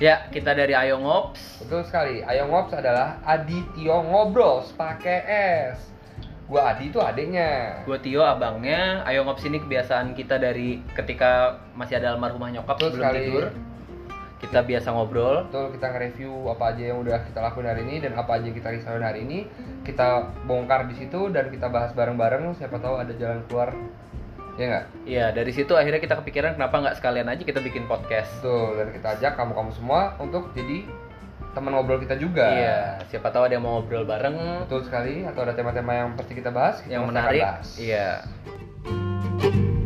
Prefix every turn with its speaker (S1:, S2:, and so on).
S1: Ya, kita dari Ayo Ngops.
S2: Betul sekali. Ayo Ngops adalah Adityo Ngobros pakai S. Gua Adi itu adiknya.
S1: Gue Tio abangnya. Ayo Ngops ini kebiasaan kita dari ketika masih ada almarhumah nyokap
S2: Betul
S1: sebelum
S2: sekali.
S1: tidur. Kita biasa ngobrol.
S2: Betul kita nge-review apa aja yang udah kita lakuin hari ini dan apa aja yang kita risauin hari ini. Kita bongkar di situ dan kita bahas bareng-bareng siapa tahu ada jalan keluar. Ya nggak?
S1: Iya, dari situ akhirnya kita kepikiran kenapa nggak sekalian aja kita bikin podcast.
S2: Betul, dan kita ajak kamu-kamu semua untuk jadi teman ngobrol kita juga.
S1: Iya, siapa tahu ada yang mau ngobrol bareng
S2: Betul sekali, atau ada tema-tema yang pasti kita bahas, kita
S1: yang
S2: pasti akan
S1: menarik.
S2: bahas.
S1: Iya.